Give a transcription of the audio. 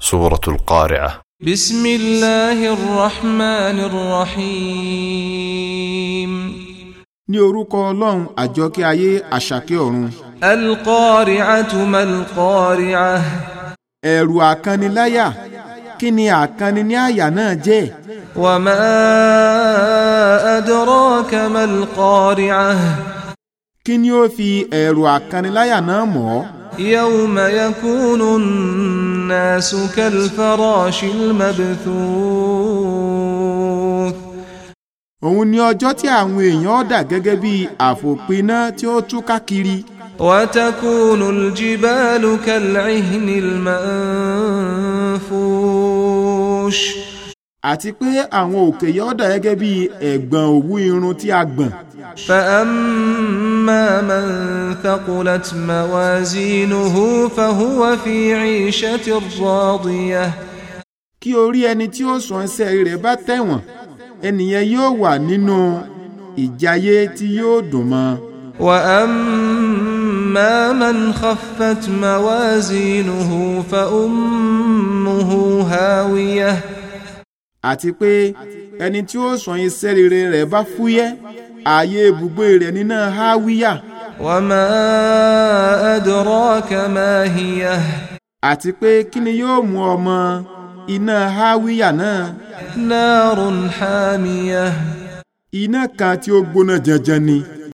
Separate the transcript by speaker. Speaker 1: سورة القارعة
Speaker 2: بسم الله الرحمن الرحيم
Speaker 3: ní orúkọ ọlọ́run àjọkẹ́ ayé àṣàkẹ́ ọ̀run
Speaker 2: القارعة ما القارعة
Speaker 3: ẹ̀rù àkànniláyà kí ni àkànni ní àyà náà jẹ́
Speaker 2: وما أدراك ما القارعة
Speaker 3: kí ni ó fi ẹ̀rù àkànniláyà náà mọ̀ ọ́
Speaker 2: يوم يكون الناس كالفراش المبثوث
Speaker 3: òun ni ọjọ́ tí àwọn èèyàn ó dà gẹ́gẹ́ bí àfòpiná tí ó túká kiri
Speaker 2: وتكون الجبال كالعهن المنفوش
Speaker 3: àti pé àwọn òkè yóò dà gẹ́gẹ́ bí ẹ̀gbọ̀n òwú irun tí a gbọ̀n
Speaker 2: فأما من ثقلت موازينه فهو في عيشة راضية
Speaker 3: kí orí ẹni tí ó sọ ẹsẹ̀ rẹ̀ bá tẹ̀wọ̀n ẹnìyẹn yóò wà nínú ìjayé tí yóò dùn mọ́
Speaker 2: وأما من خفت موازينه فأمه هاوية
Speaker 3: àti pé ẹni tí ó sọ iṣẹ́ rere rẹ̀ bá fúyẹ́ ààyè ibùgbé rẹ̀ níná háwíyà
Speaker 2: وما أدراك ما هي
Speaker 3: àti pé kí ni yóò mú ọmọ iná háwíyà náà
Speaker 2: نار حامية
Speaker 3: iná kan tí ó gbóná janjan ni